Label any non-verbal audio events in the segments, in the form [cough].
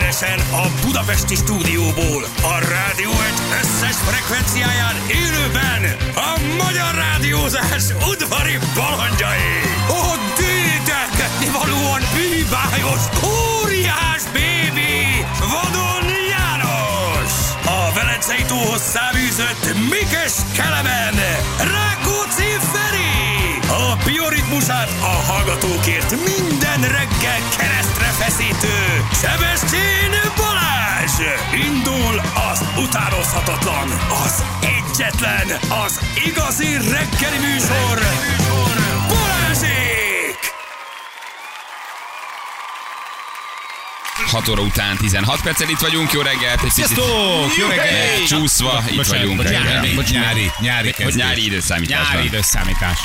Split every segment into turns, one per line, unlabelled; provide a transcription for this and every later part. Élesen a Budapesti stúdióból, a rádió egy összes frekvenciáján élőben a magyar rádiózás udvari balandjai, a dédelgetni valóan bűbájos, óriás bébi, vadon János, a Velencei tóhoz száműzött Mikes Kelemen, Rákóczi Feri, a bioritmusát a hallgatókért minden reggel keresztre feszítő Sebestyén Balázs! Indul az utánozhatatlan, az egyetlen, az igazi reggeli műsor, Balázsék!
6 óra után 16 perccel itt vagyunk, jó reggelt, egy picit
Sziasztok! Jó reggelt!
csúszva, itt
Bocsánat,
vagyunk
bocsánat,
reggel.
bocsánat.
Nyári, nyári
Hogy
kezdés.
nyári időszámításban.
Nyári időszámítás.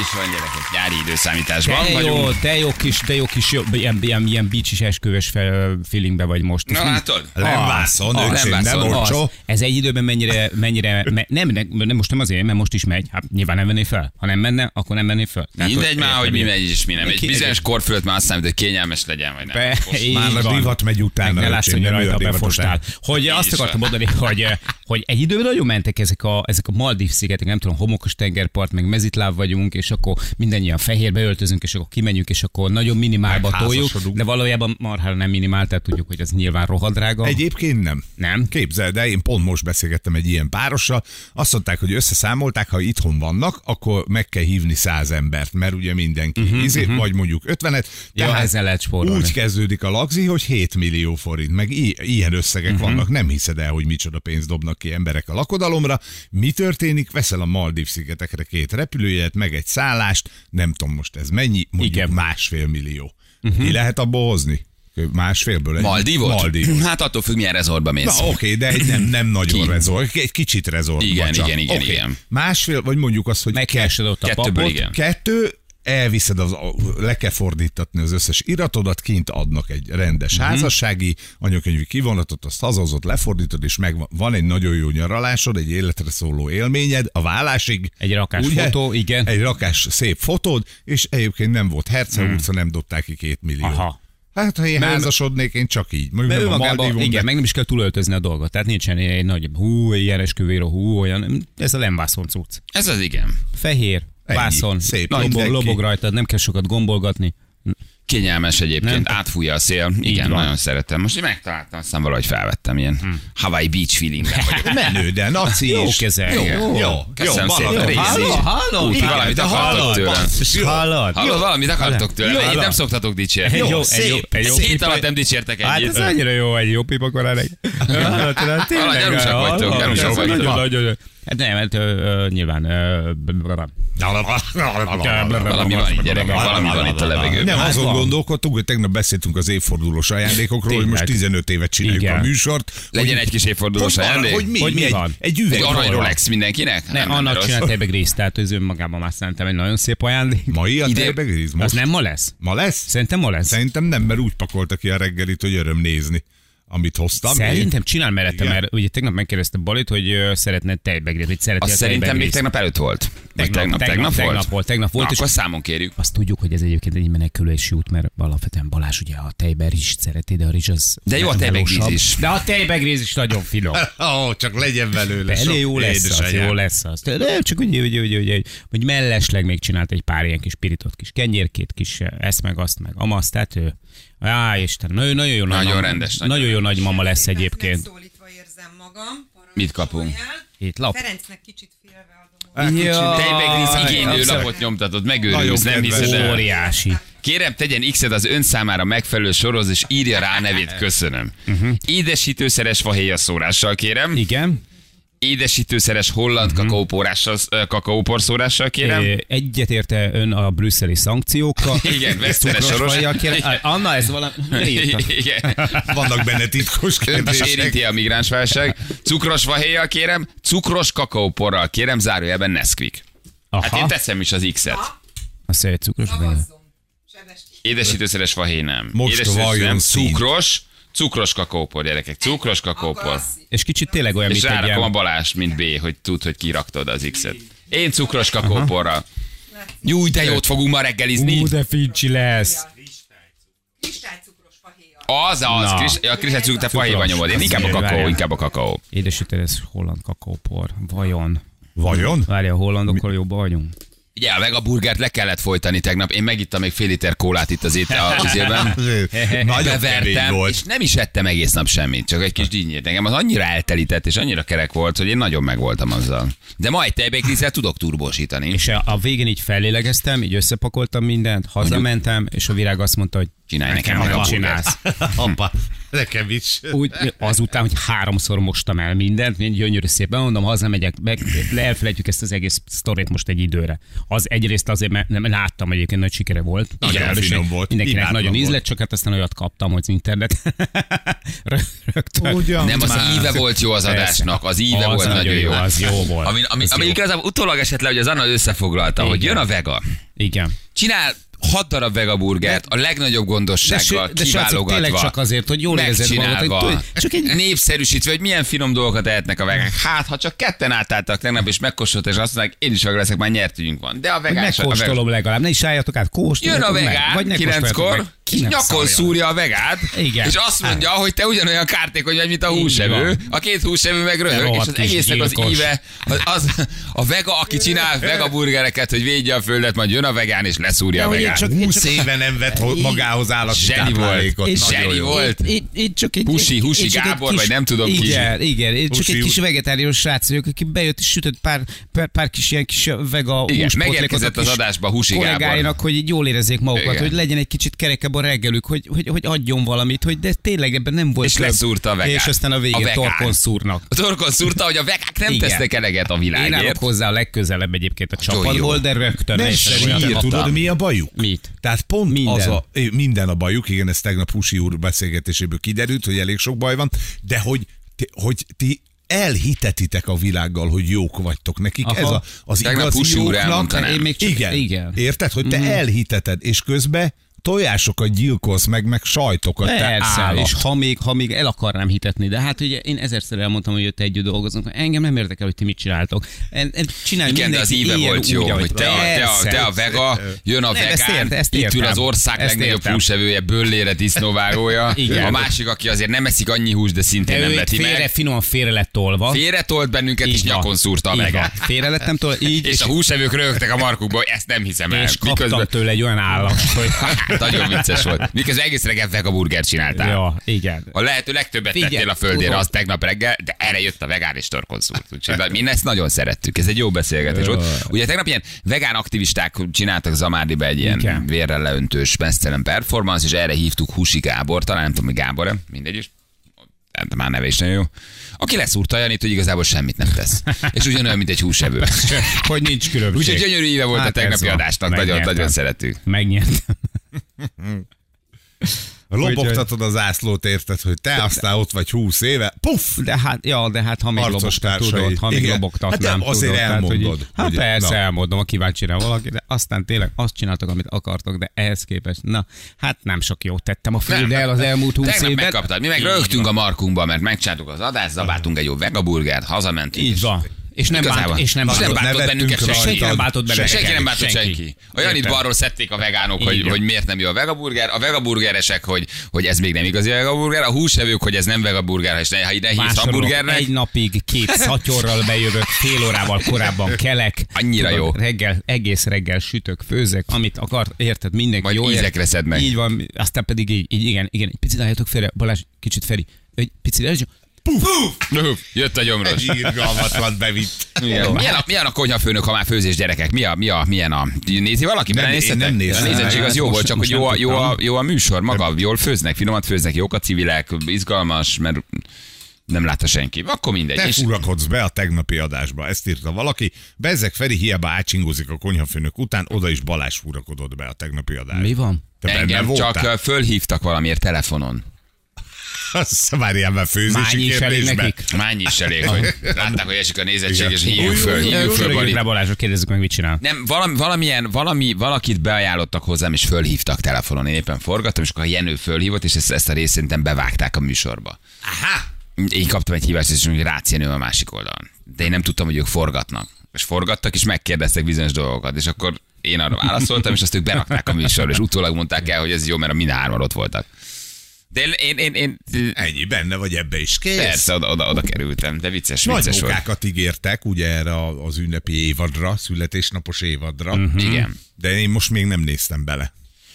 És van gyerekek, nyári időszámításban
De jó,
vagyunk.
de jó kis, de jó kis, jó, ilyen, ilyen, ilyen bicsis esküvös fel, feelingbe vagy most.
Na
Ez mind-
látod?
Lemvászon,
Az,
öcsém,
Lemvászon,
nem
Az,
olcsó.
ez egy időben mennyire, mennyire me, nem, nem, nem, most nem azért, mert most is megy, hát nyilván nem venné fel. Ha nem menne, akkor nem venné fel. Tehát,
Mindegy
hogy-
már, Hát, hogy mi megy és mi nem. Egy
Ki-
bizonyos kor fölött már azt számít, hogy kényelmes legyen, vagy nem.
Be,
Most-
így
Már a
van.
divat megy utána,
Meg ne láss,
öcsém,
hogy
nem ő
rajta
a divat
befostál. Hogy azt
van.
akartam mondani, hogy, eh, hogy egy időben nagyon mentek ezek a, ezek a Maldív szigetek, nem tudom, homokos tengerpart, meg mezitláb vagyunk, és akkor mindannyian fehérbe öltözünk, és akkor kimegyünk, és akkor nagyon minimálba toljuk,
Megházasodunk.
de valójában marhára nem minimál, tehát tudjuk, hogy ez nyilván rohadrága.
Egyébként nem.
Nem?
Képzeld el, én pont most beszélgettem egy ilyen párossal, azt mondták, hogy összeszámolták, ha itthon vannak, akkor meg kell hívni száz embert, mert ugye mindenki uh-huh, izé, uh-huh. vagy mondjuk ötvenet.
Mhm, Ja, ezzel lehet spórolni.
Úgy kezdődik a lagzi, hogy 7 millió forint, meg i- ilyen összegek
Mhm.
uh-huh. vannak, nem hiszed el, hogy micsoda pénzt dobnak ki emberek a lakodalomra. Mi történik? Veszel a Maldív szigetekre két repülőjét, meg egy szállást, nem tudom most ez mennyi, mondjuk
Igen. Mhm.
Igen. másfél millió. Uh-huh. Ki lehet abból hozni? Másfélből egy
Maldívot?
Maldívot.
Hát attól függ, milyen rezortba mész.
Na, oké, de egy nem, nem nagyon
Ki?
rezort, egy kicsit rezort.
Igen,
csak.
igen, igen,
Oké.
igen.
Másfél, vagy mondjuk azt, hogy
Megkeresed ott a
Kettőből
papot,
igen.
kettő, elviszed, az, le kell fordítatni az összes iratodat, kint adnak egy rendes
Mhm.
házassági anyakönyvi kivonatot, azt hazahozod, lefordítod, és meg van egy nagyon jó nyaralásod, egy életre szóló élményed, a vállásig.
Egy rakás fotó, igen.
Egy rakás szép fotód, és egyébként nem volt Herceg
Mhm.
utca, nem dobták ki két millió.
Aha.
Hát, ha én
Mert-
házasodnék, én csak így. Mondjuk
Mert
nem a
önmagában,
Maldívon, de-
igen, meg nem is kell túlöltözni a dolgot. Tehát nincsen egy nagy, hú, ilyen esküvéró, hú, olyan. Ez a lemvászon cucc.
Ez az igen.
Fehér,
Ennyi.
vászon,
Szép,
lobog,
mindenki.
lobog rajtad, nem kell sokat gombolgatni.
Kényelmes egyébként, nem. átfújja a szél. Igen,
van. Hm.
nagyon szeretem. Most én megtaláltam, aztán valahogy felvettem ilyen Hawaii Beach feelingben
[laughs]
vagyok.
Menő, de naci
Jó
is.
kezel.
Jó,
Igen.
jó, jó.
Köszönöm
Balaton
szépen.
is.
Rézi.
halló,
Úgy,
igen,
valamit
de
akartok
hallod,
tőlem.
basszus, hallod.
Hallod, valamit akartok tőlem.
Jó.
Ennyit nem szoktatok dicsérni.
Egy jó, egy jó, egy jó.
Egy hét alatt nem dicsértek
Hát
ennyit.
ez annyira jó, egy jó pipa korálek.
Valahogy gyanúsak vagytok, gyanúsak vagytok.
Nagyon-nagyon. Hát nem, hát ö, ö, nyilván. ö, b- b- b-
Valami van itt, gyerekek, valami van itt a levegőben.
Nem,
Hát
azon
van.
gondolkodtunk, hogy tegnap beszéltünk az évfordulós ajándékokról, hogy
Tényleg.
most 15 évet csináljuk
Igen.
a műsort.
Legyen egy kis
Hogy
évfordulós
van,
ajándék.
Hogy mi,
Hogy mi
egy,
van?
egy
Egy
üveg
arany
arra.
Rolex mindenkinek?
Ne,
nem
annak
rossz.
csinált ebbe Grace, tehát ez önmagában már szerintem egy nagyon szép ajándék.
Mai a
Ide-
terbegriz
Az
most?
nem ma lesz?
Ma lesz?
Szerintem ma lesz.
Szerintem nem, mert úgy pakolta ki a reggelit, hogy öröm nézni, amit hoztam.
Szerintem csinál mellette,
Igen.
mert ugye tegnap megkérdezte Balit, hogy ö, szeretne tejbegrét, vagy szereti
Azt
a
szerintem még
tejbegrészt.
tegnap előtt volt. Vagy tegnap, tegnap,
tegnap
volt?
volt, tegnap volt,
Na,
és
akkor számon kérjük.
Azt tudjuk, hogy ez egyébként egy menekülési út, mert alapvetően Balázs ugye a tejben rizs szereti, de a rizs az...
De jó a tejbegríz
melósabb.
is.
De a tejbegríz is nagyon
[laughs]
finom.
Ó, oh, csak legyen belőle. sok
Elég jó lesz az,
édesanyám.
jó lesz az. De csak úgy, úgy, úgy, úgy, úgy, hogy mellesleg még csinált egy pár ilyen kis pirított kis kenyérkét, kis eh, ezt meg azt meg amaz, tehát ő... Á, Isten, nagyon, nagyon jó
Nagyon
nagymama-
rendes, nagyon
Nagyon, jó nagymama lesz
Szépen
egyébként.
Megszólítva érzem magam. Parancsolj
Mit kapunk?
el.
Itt lap.
Ferencnek kicsit félve adom.
Á, kicsi.
Ja.
Tejbegríz igénylő
Abszolút.
lapot nyomtatod, megőrülsz,
Nagyon
nem
kedves.
hiszed el.
Óriási.
Kérem, tegyen X-et az ön számára megfelelő sorhoz, és írja rá a nevét, köszönöm. Uh-huh. Édesítőszeres fahéja szórással kérem.
Mhm. Igen. Mhm.
Édesítőszeres holland uh-huh. kakaópórással, ö, kakaóporszórással kérem.
Ö, Egyetérte ön a brüsszeli szankciókkal.
[laughs] Igen, veszteres
Cukros
soros. Hát
fajjal kérem. Á, Anna, ez valami... Mire
[laughs]
írtam?
Igen.
Vannak benne titkos
Önt is
kérdések.
érinti a migránsválság. Cukros vahéjjal kérem, cukros kakaóporral kérem, zárójelben Nesquik. Hát
Aha,
én teszem is az X-et.
azt mondja, cukros benne.
Szavazzon. Sebesti.
Édesítőszeres fahéj nem.
Most
Édesítőszeres
vajon
nem.
szint.
Cukros, cukros kakaópor, gyerekek. Cukros
Akkor
kakaópor.
azt
És kicsit tényleg olyan,
És
mint egy
rárakom a
ilyen...
Balázs, mint B, hogy tud, hogy kiraktad az X-et. Én cukros kakóporral. Júj, de jót fogunk ma reggelizni.
Ú, de fincsi lesz.
Kristálycukros fahéja.
Az, az,
Na.
Kris, a kristálycukor, te fahéjban nyomod. Én inkább a kakaó,
Várjál.
inkább a kakaó.
Édesítő, ez holland kakaópor. Vajon?
Vajon?
Várja, a hollandokkal jobban vagyunk.
Ugye a vegaburgert le kellett folytani tegnap, én megittam még fél liter kólát itt az étel az üzében.
[laughs] Nagyon kemény
Bevertem,
volt.
és nem is ettem egész nap semmit, csak egy kis dinnyét. Engem az annyira eltelített, és annyira kerek volt, hogy én nagyon megvoltam azzal. De ma egy tejbékrízzel tudok turbósítani.
És a, a végén így fellélegeztem, így összepakoltam mindent, hazamentem, és a virág azt mondta, hogy
Csinálj nekem
mit
magam.
[laughs] csinálsz.
Apa, nekem is.
Úgy, azután, hogy háromszor mostam el mindent, mind gyönyörű szépen, mondom, hazamegyek, meg, le- elfelejtjük ezt az egész sztorit most egy időre. Az egyrészt azért, mert nem láttam egyébként, nagy sikere volt.
Nagyon
Igen,
finom
és
volt.
Mindenkinek
Imádtam
nagyon
volt.
ízlett, csak hát aztán olyat kaptam, hogy az internet. [laughs] Rö- Rögtön.
Ugyan
Nem, az
már.
íve volt jó az
Persze.
adásnak, az íve volt nagyon jó.
Az jó volt.
Ami, ami,
Az
ami
jó.
igazából utólag esett le, hogy az Anna összefoglalta, hogy
Igen.
jön a vega.
Igen.
Csinál hat darab vegaburgert, a legnagyobb gondossággal,
de srácok,
kiválogatva.
tényleg csak azért, hogy jól érzed magad.
megcsinálva,
hogy tudj- Csak egy
népszerűsítve, hogy milyen finom dolgokat ehetnek a vegák. Hát, ha csak ketten átálltak tegnap, és megkóstoltak, és azt mondják, én is vega leszek, már nyertünk van. De a
Hogy
vegás... a vegás-
megkóstolom legalább, ne is álljatok át,
Jön
kóstoljatok
a
meg.
vegán,
ne
kilenckor,
kóstoljatok meg.
ki
Kinek
nyakon
szarja.
szúrja a vegát,
Igen. Hát.
és azt mondja, hogy te ugyanolyan kártékony vagy, mint a húsevő.
van.
A két húsevő meg röhög, és
rohadt
az
kis
egésznek az
gyilkos.
íve, az, az, a vega, aki
[laughs]
csinál vega burgereket, hogy védje a földet, majd jön a vegán, és leszúrja a
hogy én
vegát.
csak-
20 éve nem vett ho- magához állati
Zseni
táplálékot.
volt.
Nagyon
Zseni
jó.
volt.
Itt, itt csak egy,
Husi,
egy-
Husi
itt csak egy
Gábor, vagy nem tudom ki.
Igen, igen, én csak
Husi
egy kis
Husi.
vegetárius srác vagyok, aki bejött és sütött pár, pár, pár kis ilyen kis vega
Igen,
húspotlékot
megérkezett
a
az
kis
adásba Husi Gábor.
kollégáinak, hogy így jól érezzék magukat,
Igen.
hogy legyen egy kicsit kerekebb a reggelük, hogy, hogy, hogy adjon valamit, hogy de tényleg ebben nem volt
És
több.
leszúrta a vegán.
És aztán a
A
végén
vegán.
torkon szúrnak.
A torkon szúrta, hogy a vegák nem
Igen.
tesznek eleget a
Én állok
világért.
hozzá a legközelebb egyébként a
Jó,
csapatból,
jó.
de rögtön
Nem
észre olyan
sír,
kaptam.
tudod, mi a bajuk?
Mit?
Tehát pont
Minden.
minden. az a, é, minden a bajuk, igen, ez tegnap Husi úr beszélgetéséből kiderült, hogy elég sok baj van, de hogy, ti- hogy ti elhitetitek a világgal, hogy jók vagytok nekik.
Aha.
Aha. Ez a, az
Tegnap
igazi
Husi úr elmondta,
jóknak.
nem?
Én még csak,
Igen.
igen.
Érted, hogy te elhiteted, és közben tojásokat gyilkolsz meg, meg sajtokat, te
Persze,
állat.
és ha még, ha még el akarnám hitetni, de hát ugye én ezerszer elmondtam, hogy jött együtt dolgozunk, engem nem érdekel, hogy ti mit csináltok. En, en, csinálj
Igen, de az
mindenki,
íve
éljen
volt jó,
úgy, ahogy
hogy te a, te, a,
Persze.
te a vega, jön a
Nem,
vegán,
ezt értem, ezt
itt ül
értem.
az ország
Ezt
legnagyobb
értem.
húsevője, böllére, disznóvágója.
[laughs] Igen.
A másik, aki azért nem eszik annyi hús, de szintén
De
nem
ő itt
veti
félre,
meg.
finoman félre lett tolva.
Félre tolt bennünket, és
Így van.
nyakon szúrta a
Így
vega.
van. Félre lettem tolva,
[laughs]
így,
És a húsevők rögtek a markukba, hogy ezt nem hiszem el. Hát,
és kaptam tőle egy olyan állast, hogy...
[laughs] nagyon vicces volt. Miközben egész reggel vega burgert csináltál.
ja, igen.
A lehető legtöbbet
Figyelj,
tettél a földére
tudom. Hát.
az tegnap reggel, de erre jött a vegán és torkonszúrt. Úgyhogy na, mi ezt nagyon szerettük. Ez egy jó beszélgetés volt. Ugye tegnap ilyen vegán aktivisták csináltak Zamárdiba egy ilyen
Igen.
vérrel leöntős mesztelen performance, és erre hívtuk Husi Gábor, talán nem tudom, hogy Gábor, mindegy is. Nem, már neve is nagyon jó. Aki leszúrta Janit, hogy igazából semmit nem tesz.
[laughs]
És ugyanolyan, mint egy húsevő.
Hogy nincs különbség.
Úgyhogy gyönyörű éve volt
Hát
a
ez
tegnapi
van.
adásnak. Nagyon,
Megnyertem.
nagyon szerettük.
Megnyertem.
Lobogtatod az zászlót, érted, hogy te aztán ott vagy 20 éve, puff,
De hát, ja, de hát ha még
Harcos
lobogtat,
társai.
tudod, ha még
Igen.
lobogtatnám,
Hát de azért
tudod, tehát, hogy
elmondod,
így- Hát
hogy-
persze,
na.
elmondom, ha kíváncsi rá valaki, de aztán tényleg azt csináltok, amit akartok, de ehhez képest, na, hát nem sok jót tettem a földdel az elmúlt húsz
Tegnap
évben.
megkaptad. Mi meg
Így
rögtünk a markunkba, mert megcsináltuk az adást, zabáltunk egy jó vegaburgert, hazamentünk.
Így
és-
van. És nem
Igazából.
bánt, és nem
és nem
bánt.
bántott
nevettünk
bennünket
rajta.
senki.
Senki
nem bántott bennünket.
Senki nem bántott
Senki.
senki. Olyan itt
Értem.
balról szedték a vegánok,
Így
hogy,
van.
hogy miért nem jó a vegaburger. A vegaburgeresek, hogy, hogy ez még nem igazi a vegaburger. A húsevők, hogy ez nem vegaburger, és ne, ha ide hívsz
Vásárolok,
hamburgernek.
Egy napig két szatyorral bejövök, fél órával korábban kelek.
Annyira jó.
Reggel, egész reggel sütök, főzök, amit akar, érted, mindenki
Majd
jó.
ízekre
ért.
szed meg.
Így van, aztán pedig így, így igen, igen, egy picit álljatok félre, Balázs, kicsit Feri, egy picit, ez
Puff! Jött a gyomros.
irgalmatlan bevitt.
Igen. Milyen a, milyen a konyhafőnök, ha már főzés gyerekek? Mi a, mi a, milyen a... Nézi valaki?
Nem, Hát
Belenéztetek?
én nem néztem.
A nézettség az jó
Most-
volt, csak hogy
most
jó
nem
a, jó, a,
tudtam.
jó a műsor maga. Jól főznek, finomat főznek, jók a civilek, izgalmas, mert nem látta senki. Akkor mindegy.
Te
És-
furakodsz be a tegnapi adásba, ezt írta valaki. Bezek Feri hiába ácsingozik a konyhafőnök után, oda is Balázs furakodott be a tegnapi adásba.
Mi van?
Te benne
Engem csak
voltál?
ö, fölhívtak valamiért telefonon.
[laughs] Azt várjál már főzési
Mányi is elég
kérdésbe.
nekik?
Mányi is elég,
[laughs]
hogy látták, hogy esik a nézettség, és hívjuk föl, hívjuk föl,
Fölhívjuk
Bali.
rá Balázsra, kérdezzük meg, mit csinál.
Nem, valami, valamilyen, valami, valakit beajánlottak hozzám, és fölhívtak telefonon. Én éppen forgattam, és akkor a Jenő fölhívott, és ezt, ezt a részt szerintem bevágták a műsorba.
Aha!
Én kaptam egy hívást, és mondjuk Rácz Jenő a másik oldalon. De én nem tudtam, hogy ők forgatnak. És forgattak, és megkérdeztek bizonyos dolgokat, és akkor én arra válaszoltam, és azt ők berakták a műsorba, és utólag mondták el, hogy ez jó, mert a mind hárman ott voltak. De én, én, én, én
Ennyi, benne vagy ebbe is. Kész.
persze oda, oda, oda kerültem, de vicces,
Nagy
vicces volt.
munkákat ígértek, ugye erre a- az ünnepi évadra, születésnapos évadra.
Mhm.
Mm-hmm.
Igen.
De én most még nem néztem bele.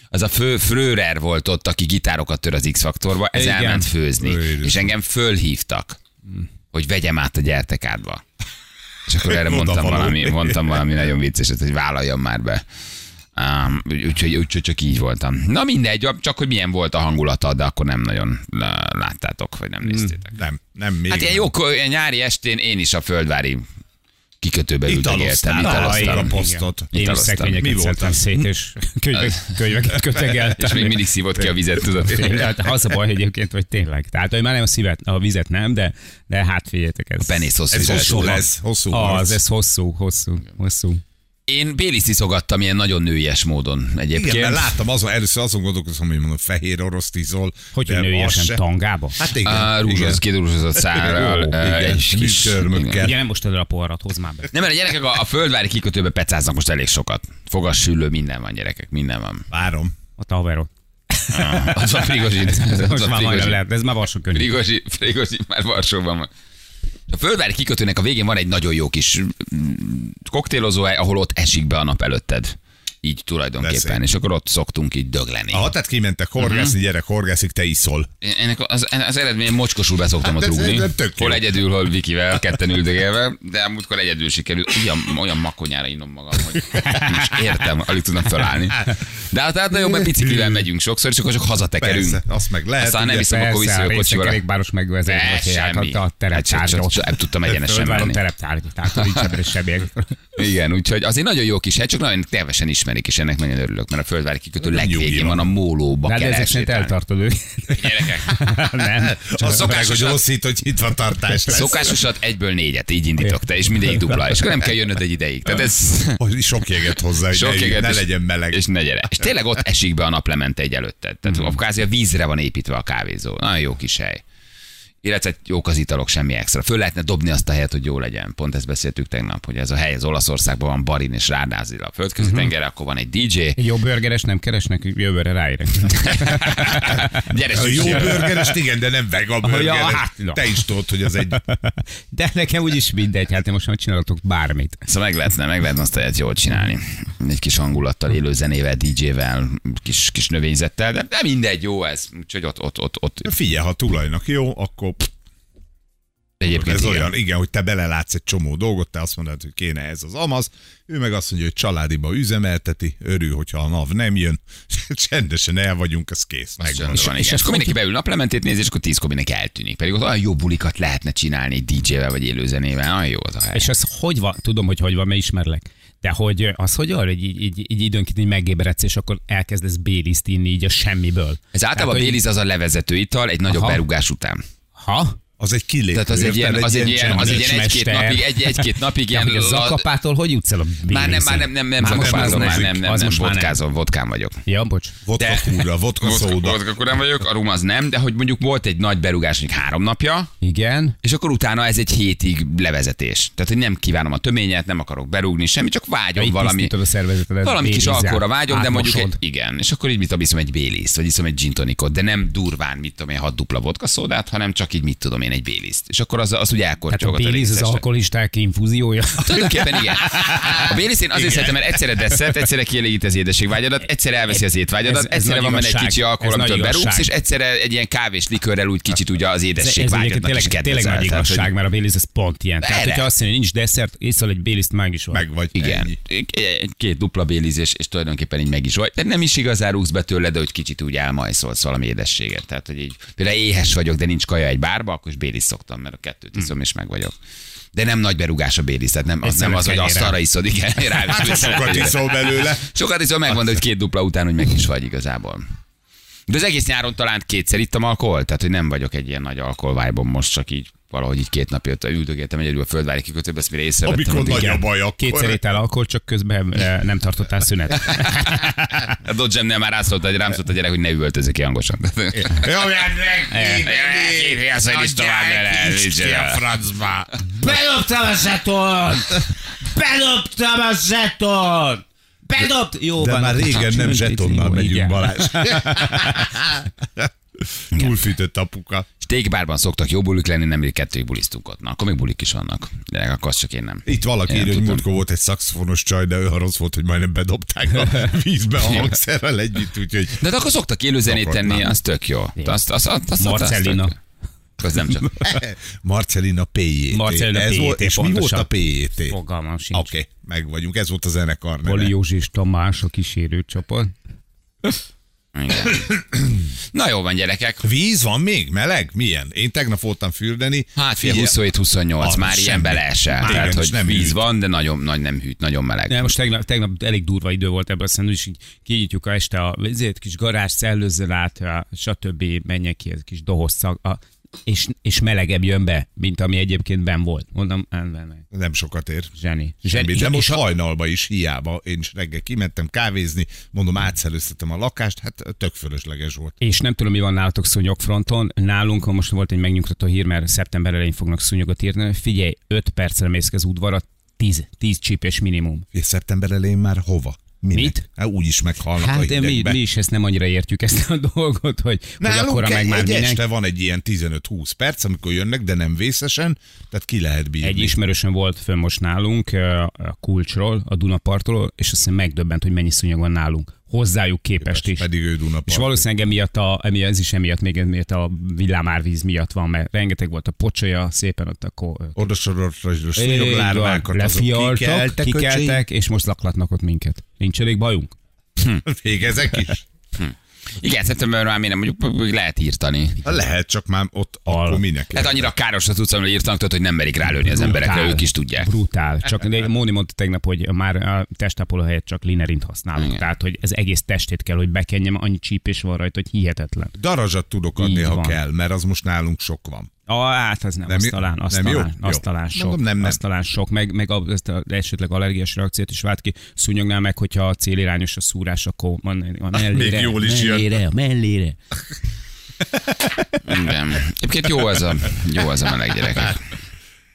Az a fő Frörer volt ott, aki gitárokat tör az X-faktorba, ez
Igen.
Igen. elment főzni.
Őrült.
És engem fölhívtak,
Hm.
hogy vegyem át a gyertekádba. És akkor erre
[laughs] Oda
mondtam
való.
valami, mondtam valami nagyon vicceset, hogy vállaljam már be. Um, úgyhogy, úgyhogy csak így voltam. Na mindegy, csak hogy milyen volt a hangulata, de akkor nem nagyon lá- láttátok, vagy
Hm.
nem néztétek.
Nem, nem még.
Hát ilyen jó ilyen nyári estén én is a földvári kikötőbe
Italoztál.
ültem,
Italoztál. a
italoztam.
posztot.
Én is
Italoztam.
Mi
szekvényeket
voltál?
szedtem szét,
[laughs]
és könyvek, könyveket kötegeltem.
És még mindig szívott ki a vizet,
[laughs]
tudod?
Hát az a baj egyébként, vagy tényleg. Tehát, hogy már nem a szívet, a vizet nem, de, de hát figyeljetek, ez...
A penészhoz
Ez
fizet.
hosszú lesz, hosszú harc.
Az, ez hosszú, hosszú, hosszú.
Én Béli sziszogattam ilyen nagyon nőies módon egyébként.
Igen, mert láttam, azon, először azon gondolkozom, hogy mondom, fehér orosz tízol.
Hogy
de az
nőjesen
se.
tangába?
Hát igen.
Á, rúzsos,
igen.
kirúzsozott szárral.
Ó,
ö,
igen,
és kis-
műtörmökkel.
igen.
Ugye nem most el a poharat, hozd már be.
Nem, mert a gyerekek a, a földvári kikötőbe pecáznak most elég sokat. Fogas, süllő, minden van, gyerekek, minden van.
Várom.
Ott a haverod.
Ah, Az a
[laughs]
Prigozsin. Az
Most
a
már majdnem
Prigozsin.
lehet, ez már varsó könyv.
Prigozsin, Prigozsin már Varsóban van. A földvári kikötőnek a végén van egy nagyon jó kis mm, koktélozó hely, ahol ott esik be a nap előtted. Így tulajdonképpen.
Beszélj.
És akkor ott szoktunk így dögleni.
Aha, tehát kimentek horgászni,
Mhm.
gyerek horgászik, te iszol.
Ennek az, az eredmény mocskosul beszoktam
Hát
hát
ez-
ott rúgni.
ez tök jó.
Hol egyedül, hol Vikivel, ketten üldögélve, de múltkor egyedül sikerült. Olyan, olyan makonyára innom magam, hogy nem is értem, alig tudnak felállni. De hát, hát nagyon, mert biciklivel megyünk sokszor, és akkor csak hazatekerünk.
Persze, azt meg lehet.
Aztán nem
ugye.
hiszem, akkor visszajövök kocsival.
kerékpáros megvezető,
Ne,
hogy
semmi.
a
Hát csak-
tereptárgyat.
csak- nem tudtam egyenesen
Földváron
menni.
tereptárgyat, tehát hogy nincs ebben semmi.
Igen, úgyhogy azért nagyon jó kis hely, csak nagyon kevesen ismerik, és ennek nagyon örülök, mert a földvári kikötő
Nem nyugi
legvégén
van.
van a mólóba.
De hát
kell
ezek szerint
elsétálni.
eltartod őket.
Gyerekek,
[laughs] Nem.
Csak
szokásos
meg, hogy
az-
oszít, hogy nyitva tartás lesz.
szokásosat egyből négyet, így indítok te, és mindegyik dupla, és akkor nem kell jönnöd egy ideig. Tehát ez,
Hogy sok jéget hozzá, hogy
Sok
ne,
éget,
ne
és-
legyen meleg. Mhm.
És ne
[laughs]
gyere. És tényleg ott esik be a naplemente egy előtted. Tehát mm. kvázi a vízre van építve a kávézó. Nagyon jó kis hely. Illetve jók az italok, semmi extra. Föl lehetne dobni azt a helyet, hogy jó legyen. Pont ezt beszéltük tegnap, hogy ez a hely az Olaszországban van Barin és Rádázil a
Mhm.
földközi tengerre, akkor van egy
[laughs]
DJ.
Egy jó burgeres nem keresnek, jövőre ráérek.
[laughs] Gyere,
A jó
süssi.
burgerest, igen, de nem vega burgerest.
hát, na.
Te is tudod, hogy az egy...
[laughs] De nekem úgyis mindegy, hát én most már csinálhatok bármit.
Szóval meg lehetne, meg lehetne azt a helyet jól csinálni. Egy kis hangulattal, élő zenével, DJ-vel, kis, kis növényzettel, de, de mindegy, jó ez. Úgyhogy ott, ott, ott, ott.
Figyelj, ha tulajnak jó, akkor pff,
Egyébként
ez
igen.
olyan, igen, hogy te belelátsz egy csomó dolgot, te azt mondod, hogy kéne ez az amaz, ő meg azt mondja, hogy családiba üzemelteti, örül, hogyha a NAV nem jön, [laughs] csendesen el vagyunk, ez kész, megvan.
És, van, és, és akkor mindenki beül naplementét néz, és akkor tízkor mindenki eltűnik. Pedig ott olyan jó bulikat lehetne csinálni egy DJ-vel vagy élőzenével. Nagyon jó az a hely.
És az hogy van, tudom, hogy hogy van, mert ismerlek. De hogy az hogy arra, hogy így, így, így időnként így megébredsz, és akkor elkezdesz béliszt inni így a semmiből.
ez általában
hogy-
hát, Béliz az a levezető ital egy nagyobb
Aha.
berúgás után.
Ha?
Az egy kilépő.
Tehát az egy
érted?
ilyen, az egy ilyen, az egy
csendes
ilyen egy-két
mester.
napig, egy, egy-két napig
[laughs] Ja,
ilyen...
hogy a zakapától hogy jutsz el a béliszig?
Már nem, már nem, nem, nem,
most
zakapázom, már
az
nem, nem,
az
nem,
most már nem.
vodkázom, vodkán vagyok.
Ja, bocs.
Vodka kúra, vodka szóda.
Vodka, akkor nem vagyok, a rum az nem, de hogy mondjuk volt egy nagy berúgás, mondjuk három napja,
Igen.
és akkor utána ez egy hétig levezetés. Tehát, hogy nem kívánom a töményet, nem akarok berúgni, semmi, csak vágyom
Így
valami.
tisztítod a szervezetedet,
Valami kis
bélizzel,
alkóra vágyom, de mondjuk egy,
átmosod.
igen. És akkor így mit tudom, iszom egy béliszt, vagy iszom egy gin tonicot, de nem durván, mit tudom én, hat dupla vodka szódát, hanem csak így mit tudom én, egy béliszt. És akkor az, az úgy
Tehát Hát a
elkortyolgat
bélisz az
részesre.
alkoholisták infúziója.
[laughs] Tulajdonképpen igen. A béliszt én azért szeretem, mert egyszerre desszert, egyszerre kielégít az édeségvágyadat, egyszerre elveszi az étvágyadat,
Ez- ez
egyszerre
nagy
van benne egy
igazság.
kicsi alkohol,
Ez nagy
amitől berúgsz,
igazság.
és egyszerre egy ilyen kávés likörrel úgy kicsit ugye az
Ez, ez egyébként
édességvágyadnak is
tényleg, tényleg
kedvezel.
nagy
Tehát, hogy-
igazság, mert a bélisz ez pont ilyen. Tehát,
Erre.
hogyha azt mondja, nincs desszert, iszol egy béliszt, meg is van.
Meg vagy.
Igen.
Ennyi.
Egy- egy- Két dupla bélizés, és tulajdonképpen így meg is vagy. De nem is igazán rúgsz be tőle, de hogy kicsit úgy elmajszolsz valami édességet. Tehát, hogy így például éhes vagyok, de nincs kaja egy bárba, akkor is béliz szoktam, mert a kettőt iszom,
Hmm.
és meg vagyok. De nem nagy berúgás a béliz, tehát nem, az, nem az, hogy
kenyérrel.
azt arra iszod,
[laughs]
igen, rá
Hát, ha sokat iszol belőle.
Sokat iszom, megmondod, hogy két dupla után, hogy meg is vagy igazából. De az egész nyáron talán kétszer ittam alkohol, tehát hogy nem vagyok egy ilyen nagy alkoholvájban most, csak így valahogy így két napja ott üldögéltem egyedül a földvári kikötőbe, ezt mire észrevettem.
Amikor
addig-
nagy a baj, akkor...
Kétszer étel alkohol, csak közben eh, nem tartottál [laughs] szünet.
A dodge nem Hát, már rászólt, hogy rám szólt a gyerek, hogy ne üvöltözök ki hangosan.
Ja, mert hát meg!
Két riaszony is tovább vele, nincs
ki a
vele.
francba!
Bedobtam a zeton! Bedobtam a zeton! Bedobt! Jó,
De
van.
már régen nem zsetonnal
Jó,
megyünk,
igen.
Balázs. Túlfűtött apuka.
Steakbárban szoktak jó bulik lenni, nemrég kettőig bulisztunk ott. Na, akkor még bulik is vannak. De akkor azt csak én nem.
Itt valaki
Én nem
írja, hogy
tudtam.
múltkor volt egy szakszofonos csaj, de ő rossz volt, hogy majdnem bedobták a vízbe a hangszerrel együtt, úgyhogy
De hát akkor szoktak élőzenét
Szokott,
tenni,
nem?
az tök jó. Azt, azt, azt, azt, azt,
Marcellina.
Azt, tök- az nem csak.
eh, Marcelina PJT.
Marcelina
Ez
PJT,
volt, és mi volt
pontosan.
a PJT? Oké,
Fogalmam sincs. Okay.
meg vagyunk, ez volt a zenekar neve.
Poli Józsi és Tamás a kísérő csapat.
Igen. Na jó van, gyerekek.
Víz van még? Meleg? Milyen? Én tegnap voltam fürdeni.
Hát figyelj,
Figyelj,
27-28,
Az
már
semmi.
ilyen beleesel.
Igen,
Tehát,
és
hogy
nem
víz
hűt.
van, de nagyon, nagy nem hűt, nagyon meleg.
Nem, most tegnap, tegnap elég durva idő volt ebből, aztán úgyis így kinyitjuk a este a ezért kis garázs, szellőzzön át, a- stb. menjek ki, ez kis dohos szag, a, és, és melegebb jön be, mint ami egyébként ben volt. Mondom, nem, nem, nem.
Nem sokat ér.
Zseni.
Semmi,
Zseni.
de
és- és
most
a-
hajnalba is hiába. Én is reggel kimentem kávézni, mondom, átszellőztetem a lakást, hát tök fölösleges volt.
És nem tudom, mi van nálatok szúnyogfronton. Nálunk most volt egy megnyugtató hír, mert szeptember elején fognak szúnyogot írni. Figyelj, 5 percre mész ki az udvarra, 10, 10 csípés minimum.
És szeptember elején már hova? Minek?
Mit?
Hát úgy is meghalnak a
Hát de mi,
hidegbe.
mi is ezt nem annyira értjük ezt a dolgot, hogy, hogy
Nálunk
akkora meg már
egy
mindenki.
este van egy ilyen 15-20 perc, amikor jönnek, de nem vészesen, tehát ki lehet bírni.
Egy ismerősen volt fönn most nálunk ö, a kulcsról, a Dunapartról, és azt hiszem megdöbbent, hogy mennyi szúnyog van nálunk. Hozzájuk képest is.
Pedig ő Duna
És valószínűleg emiatt a, emi- ez is emiatt, még emiatt a villámárvíz miatt van, mert rengeteg volt a pocsolya, szépen ott akkor ö,
Oda soroltra,
Így van,
szúnyoglárvákat azok
lefialtak,
kikeltek, kikeltek.
kikeltek, és most laklatnak ott minket. Nincs elég bajunk?
[laughs] Végezek is.
Igen, szeptemberben már miért nem, mondjuk lehet írtani.
Lehet, csak már ott
Al.
akkor minek
Hát annyira káros az utcán, hogy írtanak, tudod, hogy nem merik rálőni az emberekre, ők is tudják.
Brutál. Csak de Móni mondta tegnap, hogy már a testápoló helyett csak linerint használunk.
Igen.
Tehát, hogy ez egész testét kell, hogy bekenjem, annyi csípés van rajta, hogy hihetetlen.
Darazsat tudok adni,
Így
ha
van.
kell, mert az most nálunk sok van.
A, hát az nem,
Nem
nem azt
jó?
talán, azt
Nem jó?
talán, azt
Jó.
talán sok,
Mondom, nem, nem.
azt talán sok, meg, meg a- ezt a, esetleg allergiás reakciót is vált ki, szúnyognál meg, hogyha a célirányos a szúrás, akkor van a
Hát
mellére,
még jól is jön.
mellére, a mellére.
Igen. Egyébként jó az a, jó az a meleg gyerekek.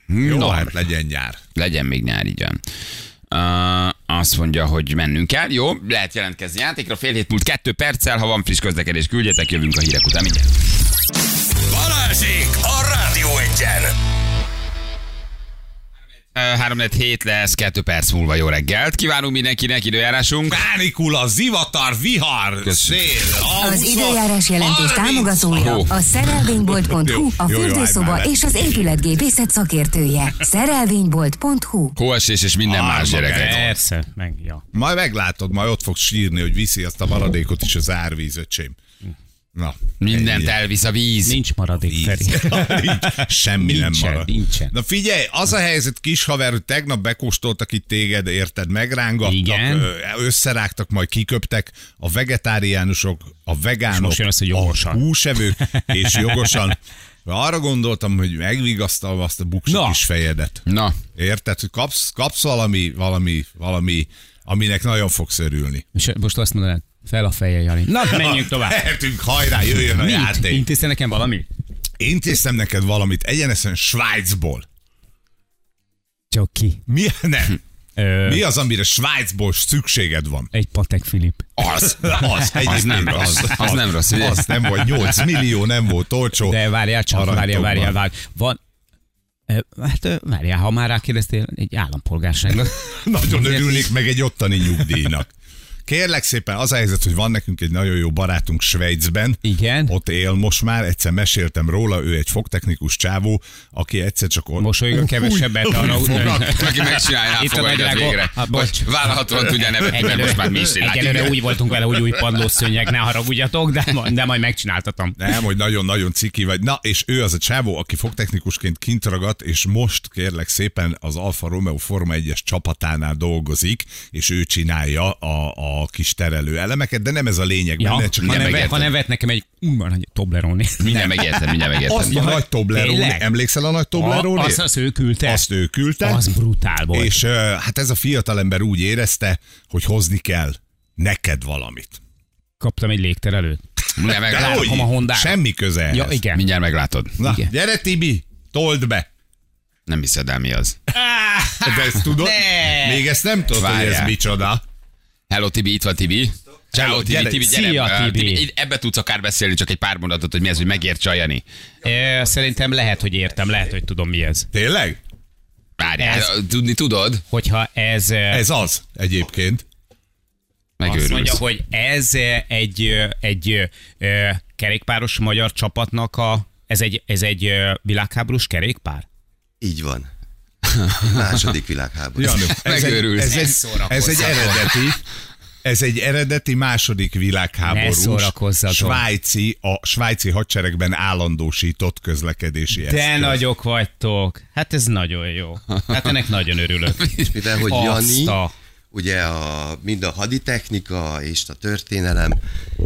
Jó,
No,
hát legyen nyár.
Hát. legyen még nyár, így van. Uh, azt mondja, hogy mennünk kell. Jó, lehet jelentkezni játékra. Fél hét múlt kettő perccel, ha van friss közlekedés, küldjetek, jövünk a hírek után mindjárt.
Balázsék a Rádió Egyen!
347 lesz, 2 perc múlva jó reggelt. Kívánunk mindenkinek időjárásunk.
Pánikula, zivatar, vihar,
Köszönjük.
szél. a
Az
20,
időjárás
30.
jelentés támogatója
Hú.
a
Jó,
szerelvénybolt.hu, a
jó, jó, állj
fürdőszoba
már le.
és az épületgépészet szakértője. Szerelvénybolt.hu
Hóesés és minden
Ah,
más
maga
gyerekek.
ez.
Persze, meg, ja.
Majd meglátod, majd ott fogsz sírni, hogy viszi azt a maradékot is az árvíz, öcsém. Na,
Mindent
ennyi.
elvisz a víz.
Nincs maradék, Feri.
[laughs] Nincs, semmi nem
Nincsen,
marad.
nincsen.
Na figyelj, az a helyzet, kis haver, hogy tegnap bekóstoltak itt téged, érted, megrángattak,
Igen.
ö, összerágtak, majd kiköptek a vegetáriánusok, a vegánok,
most jön az, hogy jogosan.
a húsevők, és jogosan. Arra gondoltam, hogy megvigasztalom azt a buksi
Na.
kis fejedet.
Na,
Érted, hogy kapsz, kapsz valami, valami, valami, aminek nagyon fogsz örülni.
És most azt mondanád, fel a feje, Jani. Na, menjünk tovább.
Lehetünk, hajrá, jöjjön a
Mit?
játék.
Intézte nekem valami?
Intéztem neked valamit, egyenesen Svájcból.
Csak ki.
Mi? [laughs] Nem.
Ö,
Mi az, amire Svájcból szükséged van?
Egy Patek Filip.
az.
Az, egyébként
nem rossz. Az nem rossz, ugye?
Az nem volt 8 millió, nem volt olcsó.
De várjál csak,
Aranytokban.
várjál, várjál, várjál. Van, Ö, Hát ö, várjál, ha már rákérdeztél, egy állampolgárságra.
[laughs] Nagyon örülnék meg egy ottani nyugdíjnak. Kérlek szépen, az a helyzet, hogy van nekünk egy nagyon jó barátunk Svájcben.
Igen.
Ott él most már, egyszer meséltem róla, ő egy fogtechnikus csávó, aki egyszer csak ott...
Mosolyog a kevesebbet, arra úgy
Aki megcsinálja,
Itt a
elfogadja
nagy
az
drága-
végre.
Ah, bocs.
Vagy Vállalhatóan tudja nevetni, mert most már mi is látjuk.
Egyelőre úgy voltunk vele, hogy új padlószőnyeg, ne haragudjatok, de, ma- de majd megcsináltatom.
Nem, hogy nagyon-nagyon ciki vagy. Na, és ő az a csávó, aki fogtechnikusként kint ragadt, és most kérlek szépen az Alfa Romeo Forma 1-es csapatánál dolgozik, és ő csinálja a, a kis terelő elemeket, de nem ez a lényeg ja, benne, csak
ha,
a
nem
nevet,
neve.
megértem.
ha nevet nekem egy umban, hogy Toblerone. [laughs]
Mindjárt megértem, mindjárt megértem.
Azt a nagy Toblerone,
Tényleg?
emlékszel a nagy Toblerone?
Azt, azt ő küldte.
Azt ő küldte.
Az brutál volt.
És ö, hát ez a fiatalember úgy érezte, hogy hozni kell neked valamit.
Kaptam egy légterelőt.
Mindjárt meglátod.
Dehogy. a Hondára.
Semmi köze ehhez.
Ja, igen.
Mindjárt meglátod.
Na,
igen.
gyere Tibi, told be.
Nem hiszed el, mi az.
De ezt tudod?
Ne!
Még ezt nem tudod, hogy ez
Várjál.
micsoda.
Hello Tibi, itt van Tibi. Ciao, Tibi,
gyere,
Tibi, gyere.
szia,
Ah,
Tibi.
Tibi, Ebbe tudsz akár beszélni, csak egy pár mondatot, hogy mi ez, hogy megérts ajani.
Ö, Szerintem lehet, hogy értem, lehet, hogy tudom mi ez.
Tényleg?
Várjál,
Ez-
tudni tudod?
Hogyha ez... ö,
Ez az egyébként.
Megőrülsz.
Azt mondja, hogy ez ö, egy, ö, egy ö, ö, kerékpáros magyar csapatnak a... Ez egy, ez egy ö, világháborús kerékpár?
Így van. [laughs] Második világháború.
Janő,
Megőrülsz.
Ez
Ne
egy, ez
szórakozzatok.
egy eredeti, ez egy eredeti második
Ne
világháborús
szórakozzatok.
svájci, a svájci hadseregben állandósított közlekedési
De
eszköz.
nagyok vagytok. Hát ez nagyon jó. Hát ennek nagyon örülök.
Mivel, hogy Jani,
Azt a-
ugye a, mind a haditechnika és a történelem,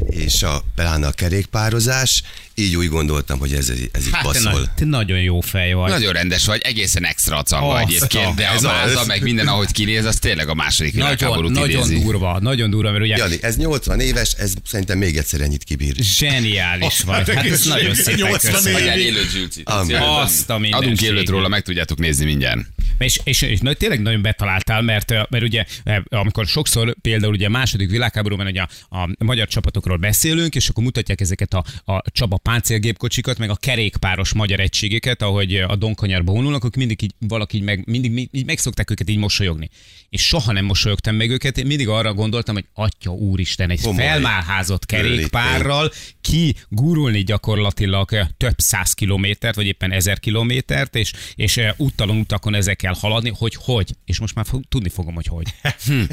és a, pláne a kerékpározás, így úgy gondoltam, hogy ez, ez itt
Hát te,
passzol.
na, te nagyon jó fej vagy.
Nagyon rendes vagy, egészen extra a canga
Azt
egyébként,
a-
de a
ez
váza,
az.
meg minden, ahogy kinéz, az tényleg a második
nagyon,
világháborút
nagyon
idézi.
durva, nagyon durva, mert ugye
Jani, ez 80 éves, ez szerintem még egyszer ennyit kibír.
zseniális vagy. Hát ez nagyon szépen
84
köszönöm.
Legyen élő gyűlcit.
Amen.
Azt a mindenségét.
Adunk élőt róla, meg tudjátok nézni mindjárt.
És, és, és na- tényleg nagyon betaláltál, mert, ö, mert ugye ö, amikor sokszor például ugye a második világháborúban ugye a, a magyar csapatokról beszélünk, és akkor mutatják ezeket a, a Csaba páncélgépkocsikat, meg a kerékpáros magyar egységeket, ahogy ö, a Donkanyarba vonulnak, ők mindig így, valaki így meg, mindig mi- így megszokták őket így mosolyogni. És soha nem mosolyogtam meg őket, én mindig arra gondoltam, hogy atya úristen, egy
Komoly.
felmálházott kerékpárral ki gurulni gyakorlatilag ö, több száz kilométert, vagy éppen ezer kilométert, és, és ö, úttalon utakon ezekkel haladni, hogy hogy. És most már fog, tudni fogom, hogy hogy.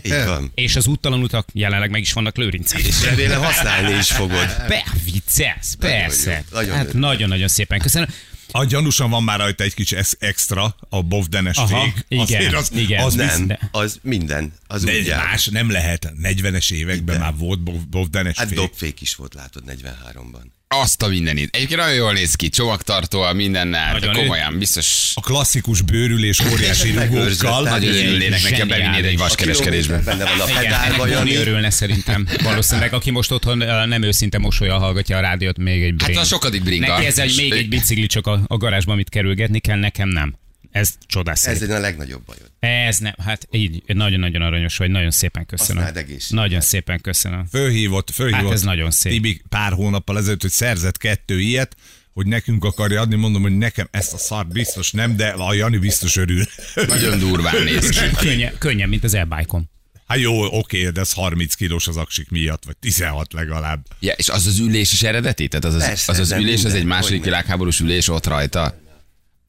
Így van.
És az úttalan utak jelenleg meg is vannak Lőrincen.
És remélem használni is fogod.
Be, viccelsz, persze.
jó, nagyon
Hát
jó.
nagyon-nagyon szépen köszönöm.
A gyanúsan van már rajta egy kicsi ex- extra, a bovdenes
Aha,
vég.
igen,
Azért az,
igen.
Az nem.
Nem,
De-
az minden. Az
De
úgy
egy
jár.
más nem lehet. 40-es években már volt bov- bovdenes
Hát
fék.
dobfék is volt, látod, 43-ban.
Azt a mindenit. Egyébként nagyon jól néz ki, csomagtartóval, mindennel, de
Nagyon
komolyan, biztos
A klasszikus bőrülés
[laughs]
óriási rugókkal.
Megőrzött.
nagyon örülnének neki, ha
Zseniális.
bevinnéd egy vaskereskedésbe.
Benne van a
Igen, ennek
pedálba,
Dani
Jani.
örülne szerintem. Valószínűleg, aki most otthon ö, nem őszinte mosolyal hallgatja a rádiót, még egy
Hát a
bring.
sokadik bringa.
Neki ez egy, még egy bicikli csak a, a garázsban, amit kerülgetni kell, nekem nem. Ez csodás.
Ez
Ez,
egy a legnagyobb bajod.
ez nem, hát így nagyon-nagyon aranyos vagy, nagyon szépen köszönöm.
Használd egészséget.
Nagyon szépen köszönöm.
Fölhívott, fölhívott.
Hát ez nagyon szép.
Tibi pár hónappal ezelőtt, hogy szerzett kettő ilyet, hogy nekünk akarja adni, mondom, hogy nekem ezt a szart biztos nem, de a Jani biztos
[laughs]
örül.
Nagyon durván néz ki.
Könnyen, könnyen mint az elbájkom.
Hát jó, oké, de ez 30 kilós az aksik miatt, vagy 16 legalább.
Ja, és az az ülés is eredeti? Tehát az az,
Persze,
az, az
nem
ülés, az
minden,
egy második
hogyne.
világháborús ülés ott rajta.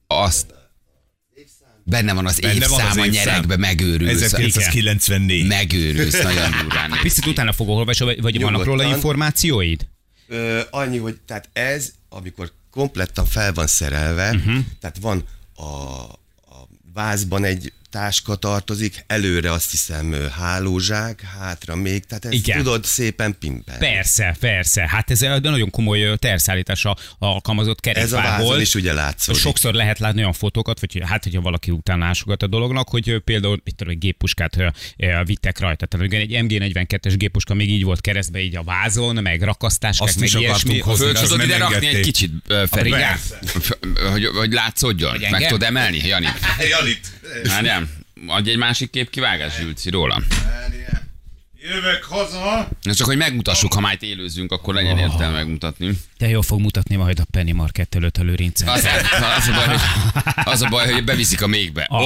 Azt Benne van az
Benne van
évszám,
az
a
évszám.
nyerekbe megőrülsz.
1994.
Megőrülsz, nagyon durván néz
Hát Picit utána fogok olvasni, vagy, vagy vannak
Nyugodtan.
róla információid?
Ö, annyi, hogy tehát ez, amikor komplettan fel van szerelve, uh-huh. tehát van a, a vázban egy táska tartozik, előre azt hiszem ö, hálózsák, hátra még, tehát ezt
Igen.
Igen. tudod szépen pimpelni.
Persze, persze. Hát ez egy nagyon komoly ö, terszállítás a a alkalmazott
Ez a
kerékpár
vázon
volt.
is ugye látszódik.
Sokszor lehet látni olyan fotókat, vagy hát, hogyha valaki után lásogat a dolognak, hogy ö, például mit tudom, egy géppuskát ö, ö, vittek rajta. Tehát igen, egy MG42-es géppuska még így volt keresztbe, így a vázon, meg rakasztáskák,
Azt
meg
is akartunk
ilyesmi.
hozni.
Föl
Csak
tudod
nem
ide rakni
engedték.
egy kicsit, ö, Feri?
persze.
F- Hogy, hogy látszódjon?
engem?
Meg tudod emelni, Jani? [laughs] Janit. Várjál, adj egy másik kép kivágás, Zsülci, rólam.
Jövök haza!
Na csak, hogy megmutassuk, ha már itt élőzünk, akkor legyen értelme megmutatni.
De jól fog mutatni majd a Penny Market előtt a lőrincen.
Az, az, a baj, hogy, az a baj, hogy beviszik a mégbe. Ó,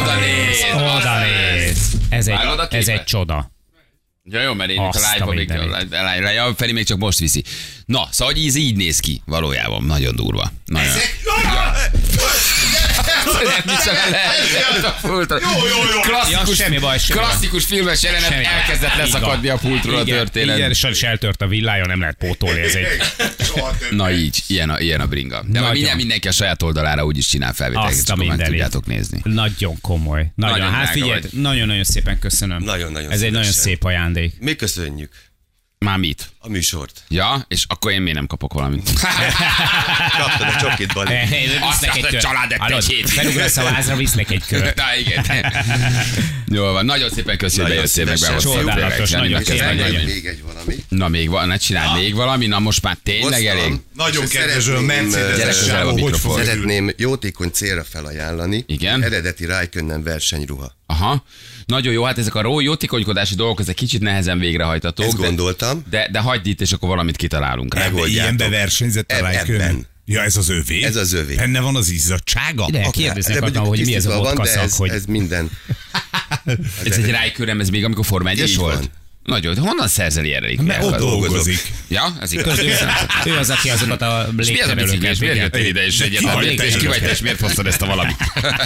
oda néz!
Oda néz! Ez egy,
Vágod a
ez egy
képet?
csoda.
Ja, jó, mert én itt
Azt
a
a
live-ba még,
mindenit.
a live- ja, Feri még csak most viszi. Na, szóval hogy ez így néz ki valójában. Nagyon durva. Nagyon. [laughs] Ezek...
Ja,
[laughs] Klasszikus,
semmi baj, semmi baj.
klasszikus filmes jelenet
Semmi baj.
elkezdett
Így
leszakadni
van.
a pultról a
Igen, Igen,
történet.
sajnos eltört a villája, nem lehet pótolni, ez egy
Na így, ilyen a, ilyen a bringa. De majd mindjárt mindenki a saját oldalára úgyis csinál felvételeket,
Azt a
csak meg
mindenit.
tudjátok nézni.
nagyon komoly. Nagyon,
Nagyon
nagyon hát
drága
figyelj,
vagy.
nagyon-nagyon szépen köszönöm.
Nagyon-nagyon
Ez egy nagyon
szívesen.
szép ajándék.
Mi köszönjük
Már mit?
a műsort.
Ja, és akkor én miért nem kapok valamit?
Kaptad a csokit, Bali.
Azt a család egy hétig.
Felugrasz a vázra, visznek egy
[laughs]
kört.
Na igen. Jó van, nagyon szépen köszönöm, hogy bejöttél
Nagyon
meg
szívesen.
behoztad. tényleg,
Csodálatos,
Zsani,
nagyon Ah.
neked
És
szépen,
nagyon-
van
nagyon-
még egy valami.
Na még van, ne csináld még valami, na most már tényleg
Hoztam.
elég.
Nagyon
És
kedves, a
szeretném,
Mercedes
ö,
Gyere közelebb a
sávó, hogy
mikrofonhoz.
fog
Szeretném jótékony célra felajánlani.
Igen?
Eredeti Rijkönnen versenyruha.
Aha.
Aha. Nagyon jó, hát ezek a ró- jótékonykodási dolgok, ezek kicsit nehezen végrehajtatók.
Ezt
de-
gondoltam.
De, de hagyd itt, és akkor valamit kitalálunk rá.
Nem.
Ebben,
Megoldjátok.
ilyenbe Hát, versenyzett a
Eb-
Rijkön.
ebben.
Ja, ez az övé?
Ez az övé.
Benne van az izzadsága?
De
Ak-
kérdeznek
mondjuk
adna, hogy mi ez a
tisztában
vodka
van, de
szak,
ez,
hogy...
ez minden.
Ez egy rájkőrem, ez még amikor Forma 1
Így
volt?
van.
Nagyon, honnan szerzel ilyen
Mert ott
régiákat?
dolgozik.
Ja, ez igaz.
Ő, ő az, aki azokat a
És mi az a bicikli, és
légkerülőket
miért
miért
jöttél ide, és egyetlen,
van
és
itt?
kivagytál, és miért hoztad ezt a valamit? [laughs]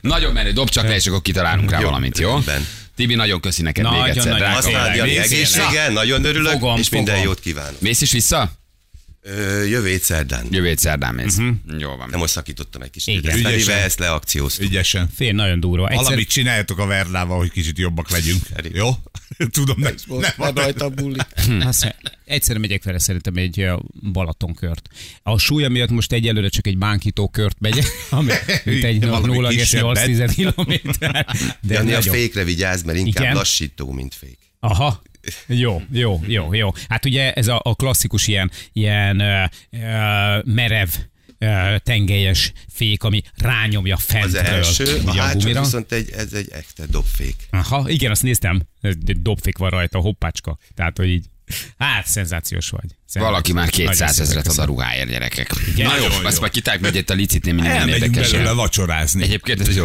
Nagyon menő, dob csak le, és akkor kitalálunk rá valamit, jó?
rendben.
Tibi, nagyon köszi neked még
Nagyon
egyszer.
nagy-
drága.
Azt
Hát Tényleg,
Adjani
nézzél,
egészséggel, nagyon örülök,
Fogom,
és minden
fogom.
jót kívánok.
Mész is vissza?
Ö, jövő hét szerdán.
Jövő hét szerdán mész. Jó
Nem
van.
most szakítottam egy kicsit.
Igen.
Igen. Felivel
Ügyesen.
ezt leakcióztuk.
Ügyesen.
Fél nagyon durva. Egyszer,
Valamit csináljatok a Vernával, hogy kicsit jobbak legyünk. Jó? [laughs] Tudom, nem, nem van rajta a buli.
Hm.
Azt, egyszer Hát, e, megyek vele szerintem egy ö, Balatonkört. A súlya miatt most egyelőre csak egy bánkító kört
[laughs]
megyek, ami mint egy
Igen, valami
0,8 kilométer. De
Jani a
nagyon-
fékre vigyázz, mert inkább
Igen?
lassító, mint fék.
Aha. Jó, jó, jó, jó. Hát ugye ez a, a klasszikus ilyen, ilyen ö, ö, merev ö, tengelyes fék, ami rányomja
Az
fentről
első, a
ugye a
hátsó
gumira.
viszont egy, ez egy ekte dobfék.
Aha, igen, azt néztem. Egy Dobfék van rajta, hoppácska. Tehát, hogy így. Hát, szenzációs vagy. Szenzációs.
Valaki már
Nagyon
200
szépen
ezret ad a
köszönöm.
ruháért, gyerekek.
Igen?
Na jó,
Nagyon
azt
jó.
majd kitáljuk, mert itt a licitnél mindig nem
Elmegyünk
érdekes.
belőle vacsorázni. [laughs]
Egyébként ez jó.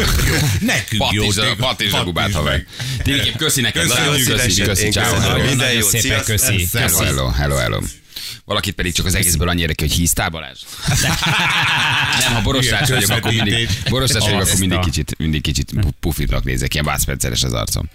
Nekünk jó, tényleg.
Patis a
Patízs
gubát, ha meg.
meg.
Tényleg köszi neked.
Köszönjük
Nagyon
szívesen.
köszi, köszi.
Én
Ciao.
köszönöm.
hello.
Nagyon,
Minden
nagyon
jót,
szépen
sziasztok.
köszi.
Hello,
köszi.
hello, hello, hello. Valakit pedig csak az egészből annyira ki, hogy híztál [laughs] Balázs? Nem, ha borostás
Igen,
vagyok, akkor mindig,
közvetítés.
borostás vagyok,
Azt
akkor mindig
a-
kicsit, mindig kicsit pu- pufidnak nézek, ilyen vászperceres az arcom.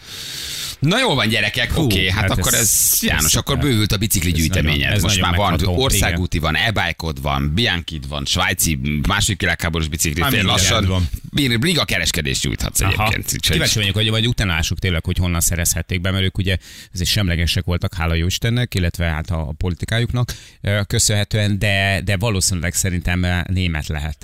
Na jó van gyerekek, oké, okay, hát,
hát
akkor ez,
ez-
János,
ez
akkor
szuper.
bővült a bicikli
Ez
gyűjteményed.
nagyon- ez
Most
nagyon
már van
megható,
országúti van, e van, Bianchid van, svájci második világháborús bicikli,
Már
fél
mindent
lassan.
van.
Bír- Briga kereskedést gyújthatsz
Aha.
egyébként. úgyhogy-
Kíváncsi vagyok, hogy vagy utána lássuk tényleg, hogy honnan szerezhették be, mert ők ugye azért semlegesek voltak, hála jó Istennek, illetve hát a politikájuknak eh, köszönhetően, de, de valószínűleg szerintem eh, német lehet.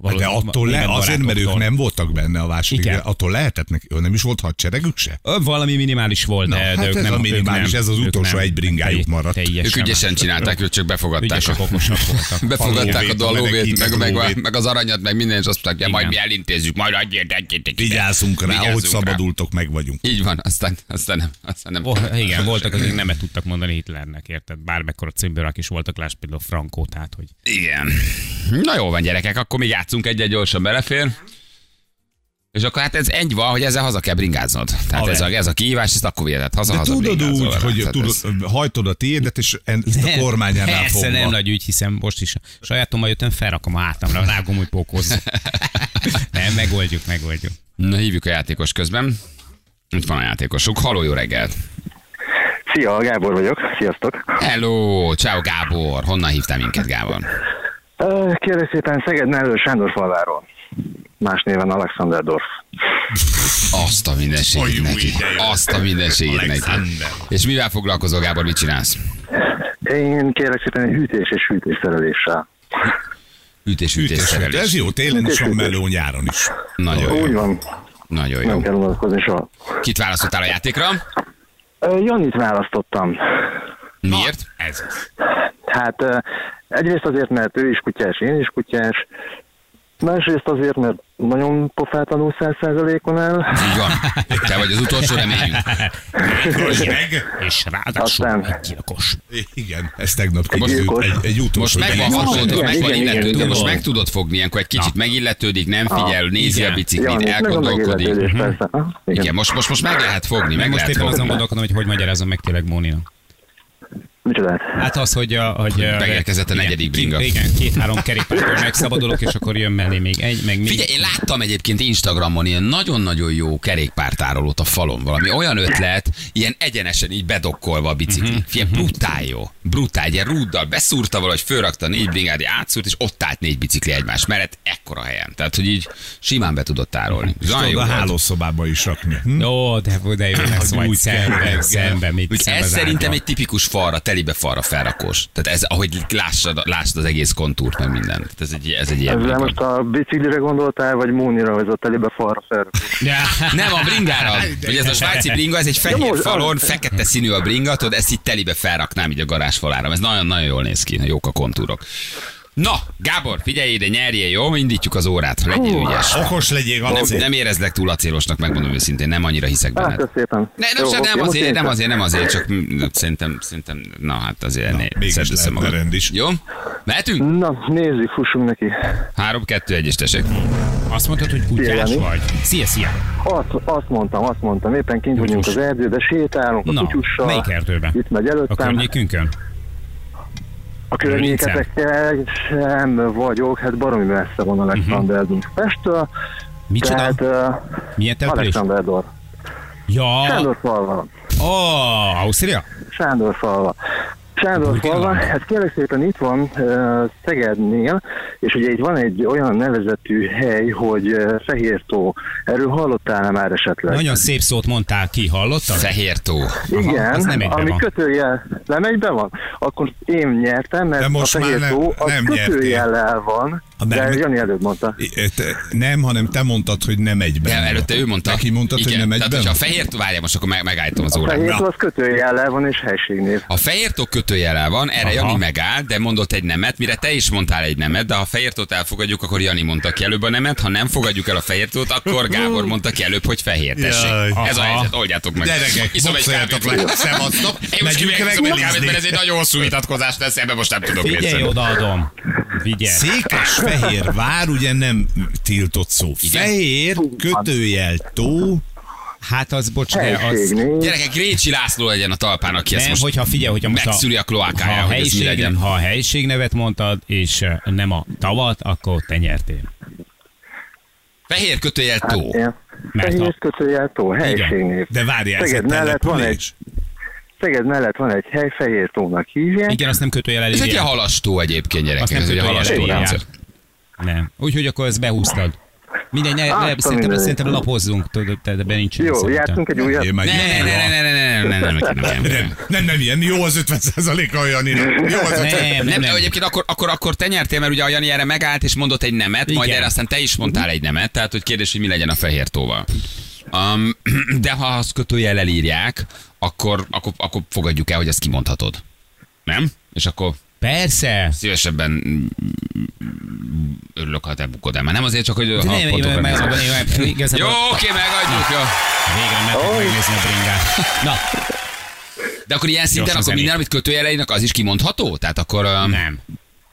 Való-
Hát De attól le,
német
azért, mert ők
barátoktól.
nem voltak benne a második,
Igen.
attól lehetett neki, Ö, nem is volt hadseregük se?
Ö, Valami minimális volt,
Na,
de,
hát
de ők
ez
nem,
a minimális,
ők nem,
ez az
ők
utolsó
nem.
egy bringájuk
Te-
maradt.
teljesen
Ők ügyesen
más.
csinálták, ők csak befogadták.
Ügyesek,
a-
okosak voltak.
Befogadták
Falóvét,
a dalóvét,
menekít,
meg, meg, a-
falóvét.
meg, az aranyat, meg minden, és azt mondták, ja, majd mi
Igen.
elintézzük, majd adjétek, adjétek.
Vigyázzunk rá, ahogy
Vigyázzunk rá.
szabadultok, meg vagyunk.
Így van, aztán, aztán nem. Aztán nem.
Oh, igen, voltak, akik nemet tudtak mondani Hitlernek, érted? Bármekkora címbőrök is voltak, láss például Frankó, tehát hogy...
Igen. Na jó van, gyerekek, akkor még játszunk egy-egy gyorsan belefér. És akkor hát ez egy van, hogy ezzel haza kell bringáznod. Tehát
Ale.
ez a, ez a kihívás, ezt akkor viheted haza,
De
haza
tudod
bringázol
úgy,
vele.
hogy
Tehát
tudod,
ez-
hajtod a tiédet, és en- ezt a kormányánál
Persze, nem
fogva.
nagy ügy, hiszen most is a sajátommal jöttem, felrakom a hátamra, rágom, hogy
[laughs]
pókozzuk. nem, megoldjuk, megoldjuk.
Na hívjuk a játékos közben. Itt van a játékosuk. Haló, jó reggelt!
Szia, Gábor vagyok. Sziasztok.
Hello! Ciao Gábor! Honnan hívtál minket, Gábor?
Ö, Kérlek szépen Szeged elő Sándorfalváról. Más néven Alexander Dorf.
Azt a mindenségét
Ajú,
neki.
ide jön.
Azt a mindenségét neki.
Alexander.
És mivel foglalkozol, Gábor, mit csinálsz?
Én kérlek szépen egy hűtés és hűtés szereléssel.
Ütés, ütés,
Ütés,
ütés,
ez jó, télen is van meló, nyáron is.
Nagyon
Úgy
jó.
van,
Nagyon
nem
jó.
kell unatkozni soha.
Kit választottál a játékra?
Ö, Janit választottam.
Miért?
Ez az.
Hát ö, egyrészt azért, mert ő is kutyás, én is kutyás. Másrészt azért, mert nagyon pofátlanul száz százalékon el.
Hát,
Így van. Te vagy az utolsó
[laughs]
reményünk.
Meg?
És ráadásul
Aztán-
egy gyilkos.
Igen, ezt tegnap
Most-
kiderült. egy, egy
Most
utolsó.
meg van
gyerek.
hatódva, meg
igen,
van
igen, igen,
illetődve,
igen.
most meg tudod fogni, ilyenkor egy kicsit megilletődik, nem figyel, nézi
Ah, Igen.
a biciklit,
meg a
elgondolkodik.
megilletődés, persze. Ha,
Igen, most, most, most meg lehet fogni, meg
Meg most
lehet
éppen azon
fogni.
gondolkodom, hogy hogy magyarázom meg tényleg Mónia.
Micsodát?
Hát az, hogy... A, hogy ö,
Megérkezett a
igen,
negyedik
ki-
bringa.
Igen, két-három kerékpártól megszabadulok, és akkor jön mellé még egy, meg még...
Figyelj, én láttam egyébként Instagramon ilyen nagyon-nagyon jó kerékpártárolót a falon. Valami olyan ötlet, ilyen egyenesen így bedokkolva a
Mhm,
bicikli. Figyelj, brutál jó. Brutál, ilyen rúddal beszúrta valahogy, fölrakta négy bringádi átszúrt, és ott állt négy bicikli egymás mellett, ekkora helyen. Tehát, hogy így simán be tudott tárolni. Nagyon jó
Tudod a
volt.
hálószobába is rakni. Hm?
Ó, de, de jó lesz
Hogy
majd
úgy kell,
szemben,
igen.
szemben, mit
Úgy
szembe
ez
zárva.
szerintem egy tipikus falra, telibe falra felrakós. Tehát ez, ahogy lássad, lássad az egész kontúrt, meg mindent. Tehát ez egy, ez egy ilyen.
Ezzel
bringa.
most a biciklire gondoltál, vagy Mónira, ez a telibe falra fel?
Ja.
Nem, a bringára.
[laughs]
Ugye ez a svájci bringa, ez egy
Jó,
fehér
az-
falon, fekete színű a bringa, tudod, ezt itt telibe felraknám így a garázs falára. Ez nagyon-nagyon jól néz ki, jók a kontúrok.
Na, Gábor, figyelj ide, nyerje, jó? Indítjuk az órát, legyél ügyes.
Okos legyél,
Nem,
Alci.
nem érezlek túl acélosnak, megmondom őszintén, nem annyira hiszek
Hát,
benned.
ez szépen.
Ne, nem,
Jó,
se,
oké,
nem,
most
azért,
én
nem
sem.
azért, nem azért, csak
Hm,
mm, szerintem, szerintem, na hát azért na, ne,
mégis
szedd össze
lehetne
magad.
rend is.
Jó? Mehetünk?
Na, nézzük, fussunk neki.
3, 2, 1 és tessék.
Azt mondtad, hogy kutyás
Jani.
vagy. Szia, szia.
Azt, azt mondtam, azt mondtam, éppen kint vagyunk az erdő, de sétálunk a
Na,
kutyussal.
melyik erdőben?
Itt megy
A
előttem.
környékünkön?
A környéketekkel sem vagyok, hát baromi messze van
Mhm.
Alexanderünk Pesttől.
Micsoda?
Tehát uh,
Milyen település?
Alexanderdor.
Ja,
Sándorfalva.
ó, Ausztria?
Sándorfalva. Sándorfalva,
Burgenland.
hát kérlek szépen itt van uh, Szegednél, és ugye itt van egy olyan nevezetű hely, hogy uh, Fehértó. Erről hallottál már esetleg?
Nagyon szép szót mondtál ki, hallottad?
Fehér tó.
Igen,
az nem egybe
ami
van.
kötőjel nem egybe van, akkor én nyertem, mert
De most
a fehér
már nem-
tó az
nem nyertél.
kötőjellel van,
A
de
nem-
Jani előbb mondta.
I- te- Nem, hanem te mondtad, hogy nem egyben.
De
van.
előtte ő mondta.
Neki mondtad,
Igen,
hogy nem
Tehát,
egyben.
hogyha a
van?
fehér tó várja, most akkor meg, megállítom az
A
órát.
fehér
Na.
tó az kötőjellel van és helységnév.
A fehértó kötőjelel van, erre
Aha.
Jani megáll, de mondott egy nemet, mire te is mondtál egy nemet, de ha a fehértót elfogadjuk, akkor Jani mondta ki előbb a nemet, ha nem fogadjuk el a fehértót, akkor Gábor mondta ki előbb, hogy fehér, tessék.
Jaj.
Ez a
Aha.
helyzet, oldjátok meg.
Gyerekek,
Iszom egy
boxoljatok
kávét.
le, szevasztok,
Én most
megyünk
kivégzem egy kávét, mert ez
reggelizni.
egy nagyon hosszú vitatkozás lesz, ebben most nem tudok részt
Figyelj,
venni.
odaadom. Vigyel.
Székesfehér vár, ugye nem tiltott szó.
Igen.
Fehér, kötőjel, tó,
Hát az, bocs, de az...
Helységnév.
Gyerekek, Récsi László legyen a talpán, aki ezt
Nem,
most
hogyha figyelj, hogyha most
megszűri a kloákáját, hogy
ha a,
ez mi
helyiség,
legyen.
ha a helyiségnevet mondtad, és eh, nem a tavat, akkor te nyertél.
fehér kötőjel tó.
Igen.
Mert
Fehér
a-
kötőjel tó, helységnév.
de várjál, ez egy
Szeged mellett van
település.
egy Szeged mellett van egy hely, Fehér Tónak hívják.
Igen, azt nem kötőjel elé.
Ez egy ilyen halastó egyébként, gyerekek.
Azt nem
Ez egy
tudja,
halastó
hogy
rendszer.
elég Nem. Úgyhogy akkor ezt behúztad. Mindegy, ne,
Á,
ne,
tudom
szerintem,
én.
szerintem lapozzunk, tudod, tehát ebben nincs.
Jó, játszunk egy újat.
Én meg-
Ne, ne, ne, ne, ne, ne, ne, ne, ne, ne, ne, ne, ne.
Nem, nem, nem ilyen. Jó az 50 a Janina. Jó az 50
Nem,
Nem,
nem,
nem,
nem.
egyébként akkor, akkor, akkor te nyertél, mert ugye a Jani erre megállt és mondott egy nemet, Igen. majd
Igen.
erre aztán te is mondtál egy nemet, tehát hogy kérdés, hogy mi legyen a fehér tóval. Um, [clears throat] de ha azt kötőjellel írják, akkor, akkor, akkor fogadjuk el, hogy ezt kimondhatod. Nem? És akkor
Persze.
szívesebben mm, örülök, ha te bukod el. Már nem azért csak, hogy...
De
ha
nem, én
pontokra
meg-
nézem. [laughs]
meg- meg- meg- hát igazából-
Jó, oké, megadjuk. Jó.
Végre meg kell megnézni a bringát. Na,
De akkor ilyen szinten,
Gyorsan
akkor minden,
zenét.
amit kötőjeleinek, az is kimondható? Tehát akkor... Um,
nem.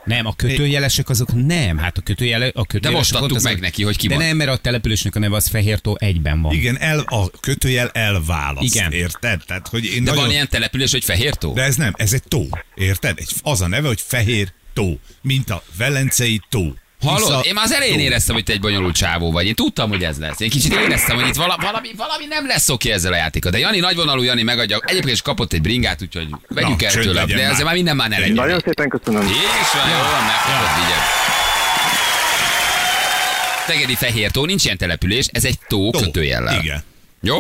Nem, a kötőjelesek azok nem. Hát a kötőjele, a kötőjelesek
most adtuk
pont azok-
meg neki, hogy ki
De
van.
nem, mert a településnek a neve az Fehértó egyben van.
Igen, el, a kötőjel elválaszt.
Igen.
Érted? Tehát, hogy én
de
nagyon...
van ilyen település, hogy fehér tó?
De ez nem, ez egy tó. Érted? Egy, az a neve, hogy fehér tó. Mint a velencei tó.
Hallod?
Tisza
Én már az elején
tó.
éreztem, hogy te egy bonyolult csávó vagy. Én tudtam, hogy ez lesz. Én kicsit éreztem, hogy itt vala, valami, valami nem lesz oké ezzel a játéka. De Jani nagyvonalú, Jani megadja. Egyébként is kapott egy bringát, úgyhogy vegyük
Na,
el
csönd
tőle.
legyen
De
már.
azért már minden már ne legyen.
Nagyon szépen köszönöm.
Jézus, van, jó, van, megkapod, vigyed. Tegedi fehér tó, nincs ilyen település, ez egy tó,
Tó.
kötőjellel.
Igen.
Jó?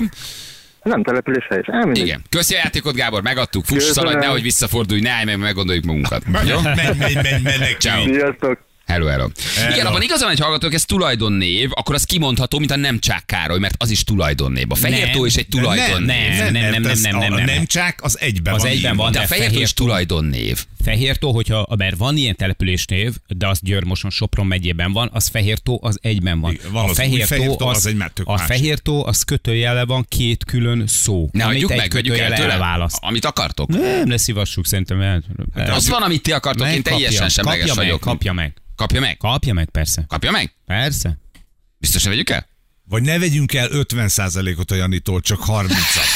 Nem település hely. Elmindegy.
Igen. Köszi a játékot, Gábor, megadtuk. Fuss,
Köszönöm.
szaladj, nehogy visszafordulj, ne állj meg, meggondoljuk magunkat. Jó?
Menj, menj, menj, menj, menj,
Ciao.
Sziasztok!
Hello, hello. hello.
Hello.
Igen, abban igazán egy hallgatók, ez tulajdonnév, akkor az kimondható, mint a nem Csák Károly, mert az is tulajdonnév. A fehér
Nem.
tó is egy
De
tulajdonnév.
nem, nem, nem,
mert
nem,
ez
nem,
a-
nem,
a
nem.
nem csák, az egyben
Az
van.
egyben
írva.
van,
De a fehér tó is
Fehér Tó.
tulajdonnév.
Fehértó, hogyha, mert van ilyen településnév, de az Győrmoson Sopron megyében van, az Fehértó az egyben van.
Igen, van
a
az új Fehértó, az egy már tök
A
más.
Fehértó az kötőjele van két külön szó.
Ne
amit
adjuk
egy
meg, vegyük el
kötőjel
tőle.
elválaszt.
Amit akartok.
Nem, ne szívassuk, szerintem el. el-
Az van, amit ti akartok, Hát én
Meg
teljesen semleges
kapja meg,
vagyok.
kapja meg.
Kapja meg?
Kapja meg, persze.
Kapja meg?
Persze.
Biztosan vegyük el?
Vagy ne vegyünk el 50%-ot a Janitól, csak
[laughs]
30-at.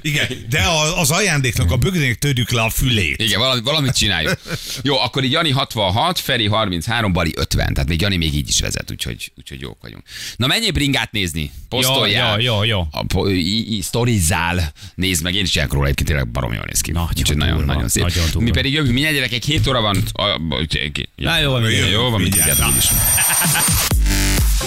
Igen, de a- az ajándéknak a bögrének törjük le a fülét.
Igen, valami, valamit csináljuk. Jó, akkor így Jani 66, Feri 33, Bali 50. Tehát még Jani még így is vezet, úgyhogy, úgyhogy jók vagyunk. Na menjél bringát nézni, posztoljál.
Jó, jó, jó, jó.
a, po- í- í- sztorizál, nézd meg, én is csinálok róla, egyébként tényleg barom jól néz ki.
Nagyon
Úgyhogy nagyon,
durva,
nagyon szép.
nagyon durva.
Mi pedig jövünk, mindjárt gyerekek, 7 óra van. A, a, a,
Na, jó van,
jó,
mindjárt.
jó van, mindjárt.
Mindjárt.
így is.